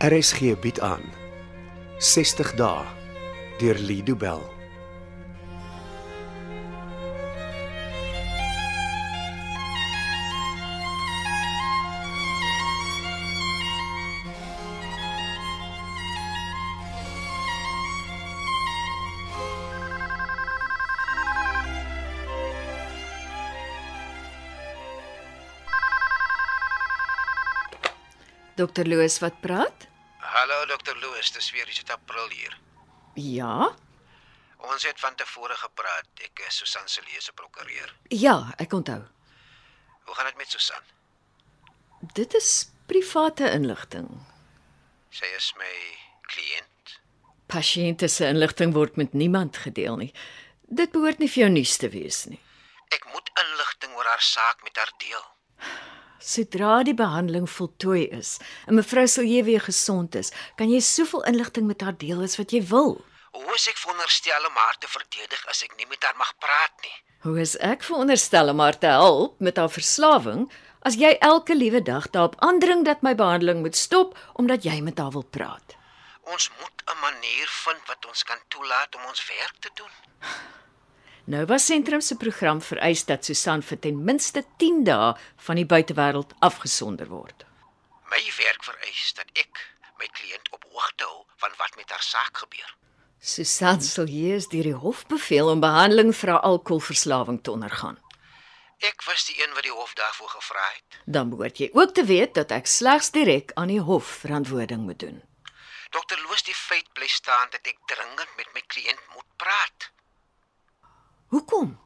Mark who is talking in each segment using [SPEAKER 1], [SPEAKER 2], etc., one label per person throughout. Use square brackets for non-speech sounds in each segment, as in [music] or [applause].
[SPEAKER 1] RSG bied aan 60 dae deur Lido Bell.
[SPEAKER 2] Dokter Loos wat praat?
[SPEAKER 3] Hallo dokter Louis, dis weer Richard April hier.
[SPEAKER 2] Ja.
[SPEAKER 3] Ons het van tevore gepraat. Ek is Susan se lese prokureur.
[SPEAKER 2] Ja, ek onthou.
[SPEAKER 3] Hoe gaan dit met Susan?
[SPEAKER 2] Dit is private inligting.
[SPEAKER 3] Sy is my kliënt.
[SPEAKER 2] Pasiënte se inligting word met niemand gedeel nie. Dit behoort nie vir jou nuus te wees nie.
[SPEAKER 3] Ek moet inligting oor haar saak met haar deel.
[SPEAKER 2] Sodra die behandeling voltooi is en mevrou Silje weer gesond is, kan jy soveel inligting met haar deel as wat jy wil.
[SPEAKER 3] Hoe is ek veronderstel om haar te verdedig as ek nie met haar mag praat nie?
[SPEAKER 2] Hoe is ek veronderstel om haar te help met haar verslawing as jy elke liewe dag daarop aandring dat my behandeling moet stop omdat jy met haar wil praat?
[SPEAKER 3] Ons moet 'n manier vind wat ons kan toelaat om ons werk te doen.
[SPEAKER 2] Nova Sentrum Nou se program vereis dat Susan vir ten minste 10 dae van die buitewêreld afgesonder word.
[SPEAKER 3] My werk vereis dat ek my kliënt op hoogte hou van wat met haar saak gebeur.
[SPEAKER 2] Susan Silje is deur die hof beveel om behandeling vir haar alkoholverslawing te ondergaan.
[SPEAKER 3] Ek was die een wat die hof daarvoor gevra het.
[SPEAKER 2] Dan behoort jy ook te weet dat ek slegs direk aan die hof verantwoording moet doen.
[SPEAKER 3] Dokter Loos, die feit bly staan dat ek dringend met my kliënt moet praat.
[SPEAKER 2] Hoekom?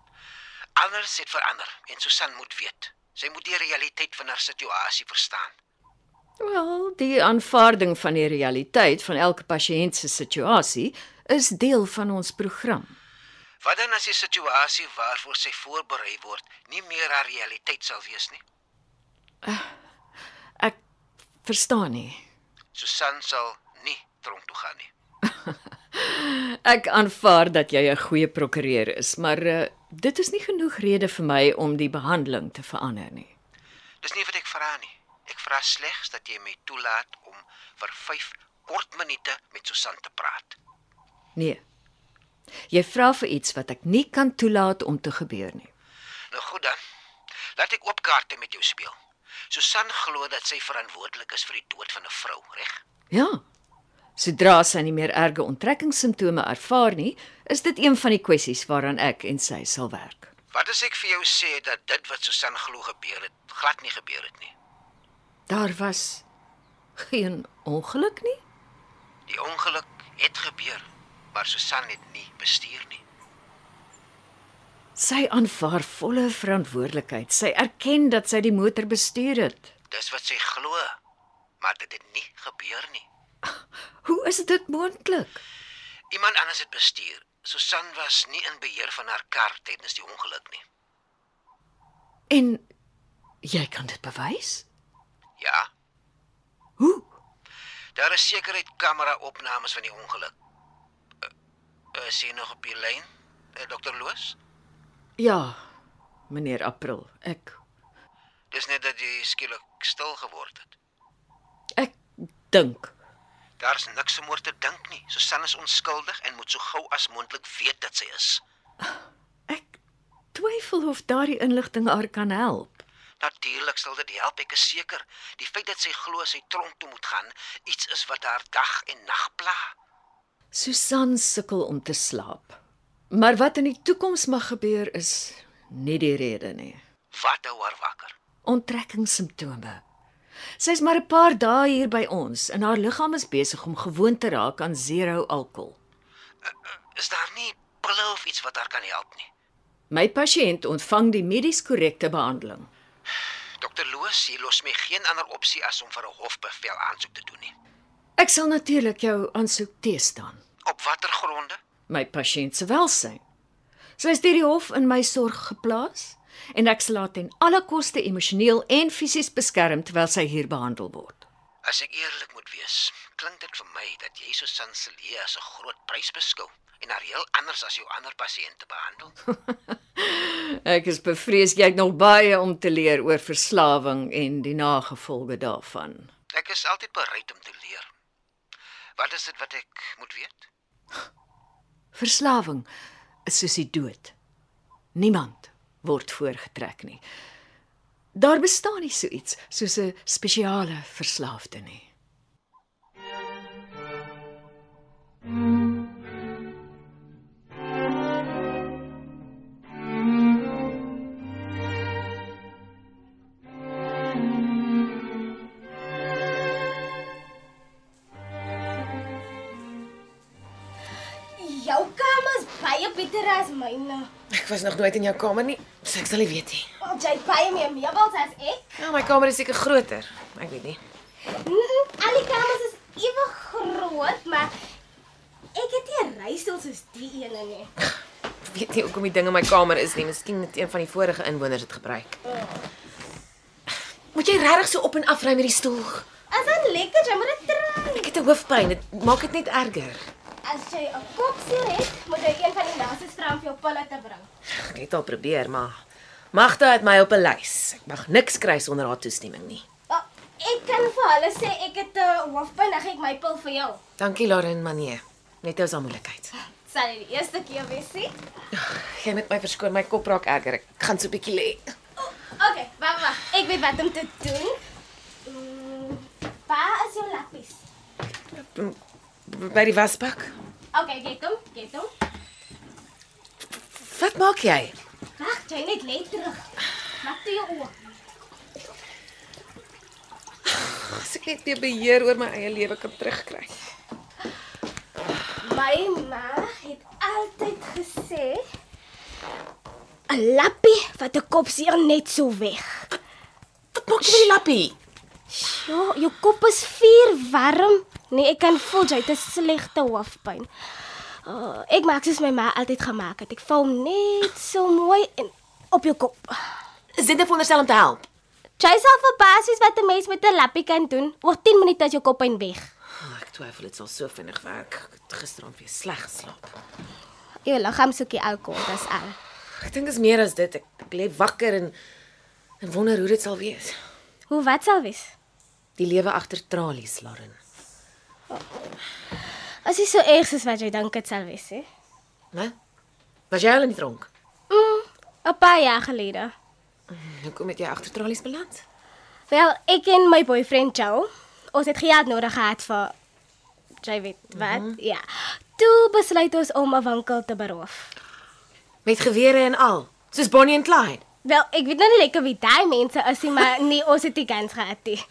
[SPEAKER 3] Anders het verander en Susan moet weet. Sy moet die realiteit van haar situasie verstaan.
[SPEAKER 2] Wel, die aanvaarding van die realiteit van elke pasiënt se situasie is deel van ons program.
[SPEAKER 3] Wat dan as die situasie waarvoor sy voorberei word nie meer haar realiteit sal wees nie?
[SPEAKER 2] Ek verstaan nie.
[SPEAKER 3] Susan sal nie tronk toe gaan nie.
[SPEAKER 2] Ek aanvaar dat jy 'n goeie prokureur is, maar uh, dit is nie genoeg rede vir my om die behandeling te verander nie.
[SPEAKER 3] Dis nie wat ek vra nie. Ek vra slegs dat jy my toelaat om vir 5 kort minute met Susan te praat.
[SPEAKER 2] Nee. Jy vra vir iets wat ek nie kan toelaat om te gebeur nie.
[SPEAKER 3] Nou goed dan. Laat ek oop kaarte met jou speel. Susan glo dat sy verantwoordelik is vir die dood van 'n vrou, reg?
[SPEAKER 2] Ja. Sodra sy nie meer erge onttrekkingssimptome ervaar nie, is dit een van die kwessies waaraan ek en sy sal werk.
[SPEAKER 3] Wat as ek vir jou sê dat dit wat Susan glo gebeur het, glad nie gebeur het nie?
[SPEAKER 2] Daar was geen ongeluk nie.
[SPEAKER 3] Die ongeluk het gebeur, maar Susan het nie bestuur nie.
[SPEAKER 2] Sy aanvaar volle verantwoordelikheid. Sy erken dat sy die motor bestuur het.
[SPEAKER 3] Dis wat sy glo, maar dit het nie gebeur nie.
[SPEAKER 2] Hoe is dit moontlik?
[SPEAKER 3] Iemand anders het bestuur. Susan was nie in beheer van haar kar tydens die ongeluk nie.
[SPEAKER 2] En jy kan dit bewys?
[SPEAKER 3] Ja,
[SPEAKER 2] Hoe?
[SPEAKER 3] daar is sekuriteitskamera-opnames van die ongeluk. Uh, is jy nog op die lyn, uh, dokter Loos?
[SPEAKER 2] Ja, meneer April, ek
[SPEAKER 3] Dis net dat jy skielik stil geword het.
[SPEAKER 2] ek dink
[SPEAKER 3] Daar's niks om oor te dink nie. Susan is onskuldig en moet so gou as moontlik weet dat sy is.
[SPEAKER 2] ek twyfel of daardie inligting haar kan help.
[SPEAKER 3] Natuurlik sal dit help, ek is seker. Die feit dat sy glo sy tronk toe moet gaan, iets is wat haar dag en nag pla.
[SPEAKER 2] Susan sukkel om te slaap. Maar wat in die toekoms mag gebeur is nie die rede nie.
[SPEAKER 3] Wat hou haar wakker?
[SPEAKER 2] Onttrekkingssimptome. Sy's maar 'n paar dae hier by ons en haar liggaam is besig om gewoond te raak aan zero alkohol.
[SPEAKER 3] Is daar nie pille of iets wat haar kan help nie?
[SPEAKER 2] My pasiënt ontvang die medies korrekte behandeling.
[SPEAKER 3] Dokter Loos, jy los my geen ander opsie as om vir 'n hofbevel aansoek te doen nie.
[SPEAKER 2] Ek sal natuurlik jou aansoek teestaan.
[SPEAKER 3] Op watter gronde?
[SPEAKER 2] my pasiënt se welsyn. Sy is deur die hof in my sorg geplaas en ek sal haar ten alle koste emosioneel en fisies beskerm terwyl sy hier behandel word.
[SPEAKER 3] As ek eerlik moet wees, klink dit vir my dat jy Susan Celia as 'n groot prys beskou en haar heel anders as jou ander pasiënte behandel.
[SPEAKER 2] Ek is bevrees jy het nog baie om te leer oor verslawing en die nagevolge daarvan.
[SPEAKER 3] Ek is altyd bereid om te leer. Wat is dit wat ek moet weet?
[SPEAKER 2] Verslawing is soos die dood. Niemand word voorgetrek nie. Daar bestaan nie so iets soos 'n spesiale verslaafde nie.
[SPEAKER 4] Jou kamer is baie beter as myne.
[SPEAKER 5] Ek was nog nooit in jou kamer nie, so ek sal nie weet nie.
[SPEAKER 4] Want jy het baie meer meubels as ek.
[SPEAKER 5] Ja, my kamer is seker groter. Ek weet nie.
[SPEAKER 4] Mm, mm, al die kamers is ewe groot, maar ek het nie 'n reistoel soos die ene nie.
[SPEAKER 5] Ek weet nie hoekom die ding in my kamer is nie. Miskien het een van die vorige inwoners dit gebruik. Moet jy regtig so op en af ry met die stoel?
[SPEAKER 4] As dit lekker, jy moet dit try.
[SPEAKER 5] Ek het 'n hoofpyn. Dit maak dit net erger.
[SPEAKER 4] As jy 'n kopseer het, moet jy een van die naaste strand vir jou pille te bring.
[SPEAKER 5] Ek het al probeer, maar Magda het my op 'n lys. Ek mag niks kry sonder haar toestemming nie.
[SPEAKER 4] Wel, ek kan vir hulle sê ek het 'n hoofpyn, dan gee ek my pil vir jou.
[SPEAKER 5] Dankie Lauren, maar nee. Net ou se moeilikheid.
[SPEAKER 4] Sal jy die eerste keer weer sien?
[SPEAKER 5] Jy moet my verskoon, my kop raak erger. Ek gaan so 'n bietjie lê.
[SPEAKER 4] Okay, wag wag. Ek weet wat om te doen. Mm, Waar is jou lappies?
[SPEAKER 5] By die wasbak.
[SPEAKER 4] Okay, get hom, get hom.
[SPEAKER 5] Wat maak jy?
[SPEAKER 4] Wag, jy net lê terug. Maak toe jou oë.
[SPEAKER 5] Ah, As ek net weer beheer oor my eie lewe kan terugkry.
[SPEAKER 4] My ma het altyd gesê 'n lappie wat 'n kop seer net so weg.
[SPEAKER 5] Wat maak jy met die lappie?
[SPEAKER 4] Ja, jou kop is vuur warm. Nee, ek kan voel jy het 'n slegte hoofpyn. Uh, ek maak soos my ma altyd gemaak het. Ek vou hom net so mooi en op jou kop.
[SPEAKER 5] Is dit net veronderstel om te help?
[SPEAKER 4] Jy sal verbaas wees wat 'n mens met 'n lappie kan doen. Oor 10 minute is jou koppyn weg.
[SPEAKER 5] Oh, ek twyfel dit sal so vinnig werk. Ek het gisteraand weer sleg geslaap.
[SPEAKER 4] Jou liggaam soek die alkohol, dis al.
[SPEAKER 5] Ek dink dit is meer as dit. Ek, ek lê wakker en en wonder hoe dit sal wees.
[SPEAKER 4] Hoe wat sal wees?
[SPEAKER 5] Die lewe agter tralies, Lauren.
[SPEAKER 4] As jy so erg soos wat jy dink dit sal wees, hè?
[SPEAKER 5] Né? Was jy al in die dronk?
[SPEAKER 4] Mm, 'n paar jaar gelede.
[SPEAKER 5] Mm, Hoekom het jy agter tralies beland?
[SPEAKER 4] Wel, ek en my boyfriend Joe, ons het gehad nodig gehad vir jy weet wat,
[SPEAKER 5] Mhm.
[SPEAKER 4] mm -hmm. ja. Toe besluit ons om 'n winkel te beroof.
[SPEAKER 5] Met gewere en al, soos Bonnie en Clyde.
[SPEAKER 4] Wel, ek weet nou nie lekker wie daai mense is nie, maar nee, ons het die kans gehad nie.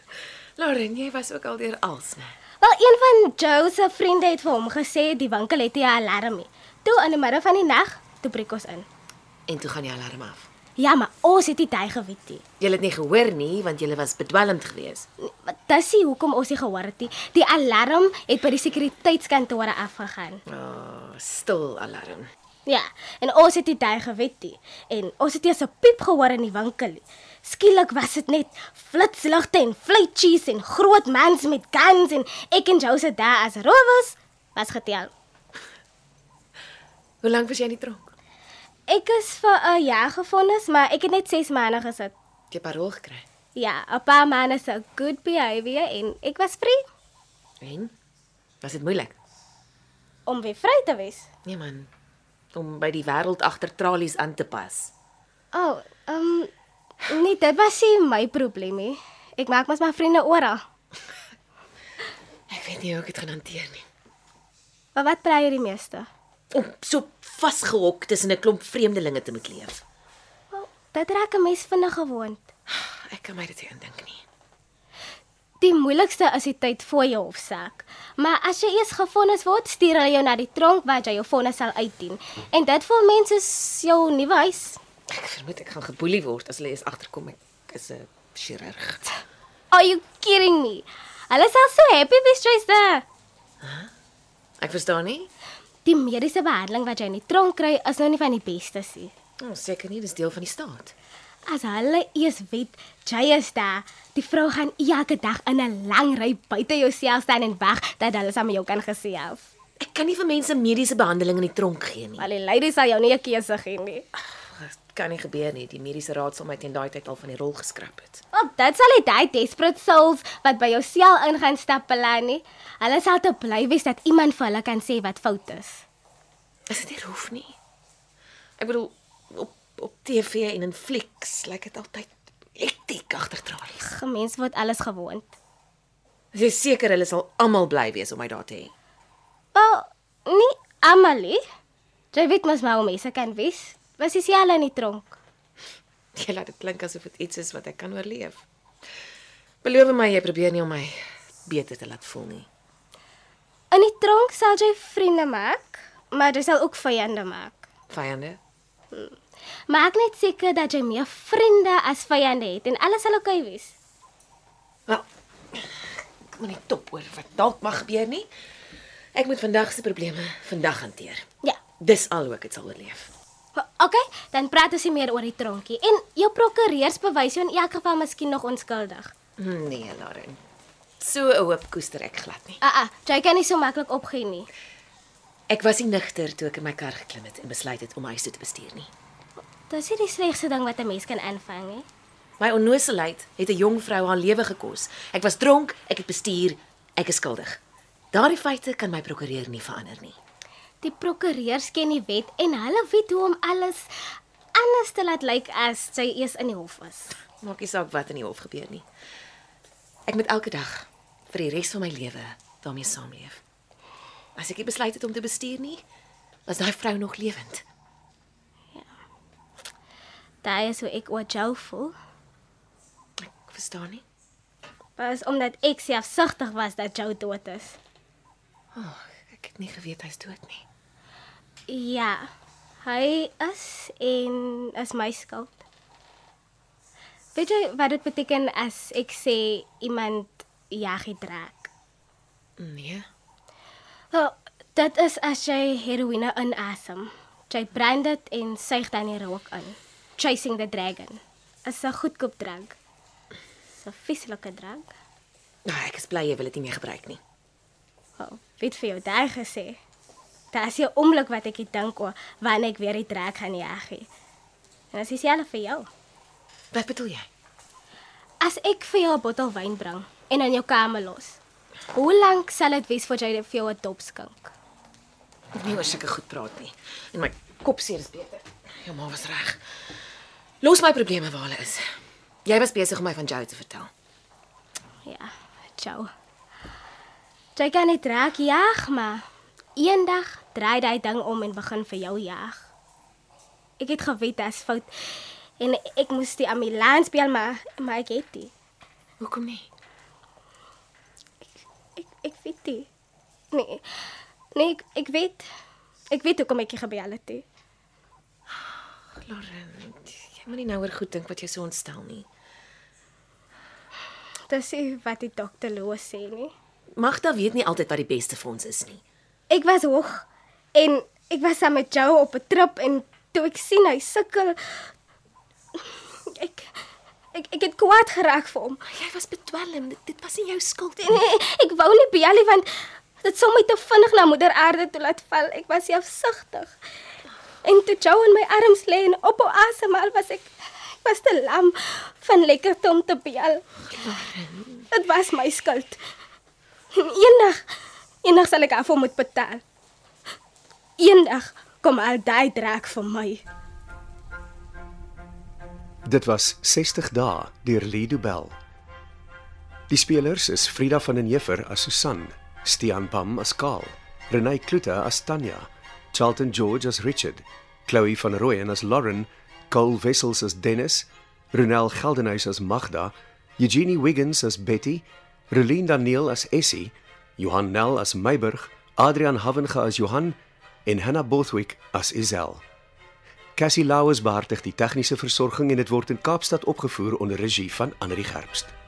[SPEAKER 5] Lauren, jy was ook al deur als, né?
[SPEAKER 4] Wel, een van Joe se vriende het vir hom gesê die winkel het nie 'n alarm nie. Toe in die middag van die nag, toe breek ons in.
[SPEAKER 5] En toe gaan die alarm af.
[SPEAKER 4] Ja, maar ons het nie daai geweet nie.
[SPEAKER 5] Jy het nie gehoor nie want jy was bedwelmd geweest.
[SPEAKER 4] Maar Dis nie hoekom ons nie gehoor het nie. Die alarm het by die sekuriteitskantore afgegaan.
[SPEAKER 5] Oh, stil alarm.
[SPEAKER 4] Ja, en ons het dit daai gewet nie. En ons het eers 'n piep gehoor in die winkel. nie. Skielik was dit net flitsligte en fluitjies en groot mans met guns en ek en Jose daar as rowers was getel.
[SPEAKER 5] Hoe lank was jy in die tronk?
[SPEAKER 4] Ek is vir 'n jaar gefonnis, maar ek het net 6 maande gesit.
[SPEAKER 5] Jy het parol gekry.
[SPEAKER 4] Ja, 'n paar maande se good behavior en ek was vry
[SPEAKER 5] En was dit moeilik?
[SPEAKER 4] om weer vry te wees.
[SPEAKER 5] Nee man, om by die wêreld agter tralies aan te pas.
[SPEAKER 4] O, oh, ehm um, nee, dit was nie my probleem nie. Ek maak mos my vriende oral.
[SPEAKER 5] Ek weet nie hoe ek dit gaan hanteer nie.
[SPEAKER 4] Maar wat praai jy die meeste?
[SPEAKER 5] Om so vasgehok tussen 'n klomp vreemdelinge te moet leef.
[SPEAKER 4] Wel, dit raak 'n mens vinnig gewoond.
[SPEAKER 5] Ek kan my dit nie indink nie.
[SPEAKER 4] Die moeilikste is die tyd voor jou hofsaak. Maar as jy eers gefonnis word, stuur hulle jou na die tronk waar jy jou vonnis sal uitdien. En dit vir mense is jou nuwe huis.
[SPEAKER 5] Ek vermoed ek gaan geboelie word as hulle eens agterkom ek is 'n chirurg.
[SPEAKER 4] Are you kidding me? Hulle sal so happy wees jy's daar.
[SPEAKER 5] Ek verstaan nie.
[SPEAKER 4] Die mediese behandeling wat jy in die tronk kry, is nou nie van die beste nie.
[SPEAKER 5] Ons Oh, seker nie dis deel van die staat.
[SPEAKER 4] As hulle eers weet jy is daar, die vrou gaan elke dag in 'n lang ry buite jou sel staan en wag dat hulle saam met jou kan gesels.
[SPEAKER 5] Ek kan nie vir mense mediese behandeling in die tronk gee nie.
[SPEAKER 4] Maar die lady sal jou nie 'n keuse gee nie.
[SPEAKER 5] kan nie gebeur nie. Die mediese raad sal my teen daai tyd al van die rol geskraap het.
[SPEAKER 4] Op dit sal dit daai desperate souls wat by jou sel ingaan stap Pelani. Hulle sal te bly wees dat iemand vir hulle kan sê wat fout is.
[SPEAKER 5] Is dit nie hoef nie. Ek bedoel op op TV en in flieks lyk dit altyd hektiek agter tralies.
[SPEAKER 4] Gemens word alles gewoond.
[SPEAKER 5] As jy seker hulle sal almal bly wees om my daar te hê. [laughs]
[SPEAKER 4] Wel, nie Amalie. Jy weet mos maar hoe mense kan wees. Was is jy al in die tronk?
[SPEAKER 5] Jy laat dit klink asof dit iets is wat ek kan oorleef. Beloof my jy probeer nie om my beter te laat voel nie.
[SPEAKER 4] In die tronk sal jy vriende maak, maar jy sal ook vyande maak.
[SPEAKER 5] Vyande.
[SPEAKER 4] Maak net seker dat jy meer vriende as vyande het en alles sal oukei wees.
[SPEAKER 5] Wel. Ek moet nie top oor wat dalk mag gebeur nie. Ek moet vandag se probleme vandag hanteer.
[SPEAKER 4] Ja.
[SPEAKER 5] Dis al hoe ek dit sal oorleef.
[SPEAKER 4] Okay, dan praat ons nie meer oor die tronkie en jou prokureurs bewys jou in elk geval miskien nog onskuldig.
[SPEAKER 5] Nee, Lauren. So 'n hoop koester ek glad nie.
[SPEAKER 4] Ah ah, jy kan nie so maklik opgee nie.
[SPEAKER 5] Ek was nie nigter toe ek in my kar geklim het en besluit het om huis toe te bestuur nie.
[SPEAKER 4] Dis nie die slegste ding wat 'n mens kan aanvang nie.
[SPEAKER 5] My onnooseleid het 'n jong vrou haar lewe gekos. Ek was dronk, ek het bestuur, ek is skuldig. Daardie feite kan my prokureur nie verander nie.
[SPEAKER 4] Die prokureurs ken die wet en hulle weet hoe om alles anders te laat lyk as jy eers in die hof is.
[SPEAKER 5] Maak nie saak wat in die hof gebeur nie. Ek moet elke dag vir die res van my lewe daarmee saamleef. As ek nie besluit het om te bestuur nie, was daai vrou nog lewend.
[SPEAKER 4] Daai is hoe ek oor jou voel.
[SPEAKER 5] Ek verstaan nie.
[SPEAKER 4] was omdat ek selfsugtig was dat jou dood is.
[SPEAKER 5] Oh, ek het nie geweet hy's dood nie.
[SPEAKER 4] Ja. Hy is en is my skuld. Weet jy wat dit beteken as ek sê iemand jag die draak?
[SPEAKER 5] Nee.
[SPEAKER 4] Wel, dit is as jy heroïne inasem. Jy brand dit en suig dan die rook in. Chasing the Dragon is 'n goedkoop drank. 'n Vieslike drank.
[SPEAKER 5] Nou, ek is bly jy wil dit nie meer gebruik nie.
[SPEAKER 4] Wel, weet vir jou daai gesê. Daar's 'n oomblik wat ek hier dink oor wanneer ek weer die trek gaan jaggie. En as dieselfde vir jou.
[SPEAKER 5] Wat bedoel jy?
[SPEAKER 4] As ek vir jou 'n bottel wyn bring en in jou kamer los. Hoe lank sal dit wees voordat jy dit vir jou 'n dop skink?
[SPEAKER 5] Ek moet nie oor sulke goed praat nie. En my kop seer is beter. Jou ma was reg. Los my probleme waar hulle is. Jy was besig om my van Joe te vertel.
[SPEAKER 4] Ja, ciao. Jy kan nie trek jag maar eendag draai daai ding om en begin vir jou jag. Ek het geweet dit is fout en ek moes die ambulans bel maar maar ek het dit.
[SPEAKER 5] Hoekom nie?
[SPEAKER 4] Ek ek weet nie. Nee. Nee, ek, ek weet. Ek weet hoekom ek jy gebel het. hè.
[SPEAKER 5] Lauren, jy moenie nou oor goed dink wat jou so ontstel nie.
[SPEAKER 4] Dis nie wat die dokter Loos sê nie.
[SPEAKER 5] Magda weet nie altyd wat die beste vir ons is nie.
[SPEAKER 4] Ek was hoog en ek was saam met jou op 'n trip en toe ek sien hy sukkel [laughs] ek ek ek het kwaad geraak vir hom.
[SPEAKER 5] Maar jy was bedwelm. Dit, dit was nie jou skuld
[SPEAKER 4] En ek, [laughs] ek wou nie bel nie want dit sou my te vinnig na moeder aarde toe laat val. Ek was selfsugtig. En toe jou in my arms lê en op haar asemhaal was ek ek was te lam van lekkerte om te bel. Dit was my skuld. En eendag eendag sal ek daarvoor moet betaal. Eendag kom al daai draak vir my.
[SPEAKER 1] Dit was 60 dae deur Lido Bell. Die spelers is Frida van den Heever as Susan, Stian Pam as Karl, Renai Klute as Tanya, Charlton George as Richard, Chloe van Rooyen as Lauren, Cole Wessels as Dennis, Ronel Geldenhuys as Magda, Eugenie Wiggins as Betty, Relien Daniel as Essie, Johan Nel as Meiburg, Adrian Havenga as Johan en Hannah Bothwick as Isel. Cassie Lauers behartig die tegniese versorging en dit word in Kaapstad opgevoer onder regie van Anri Gerbst.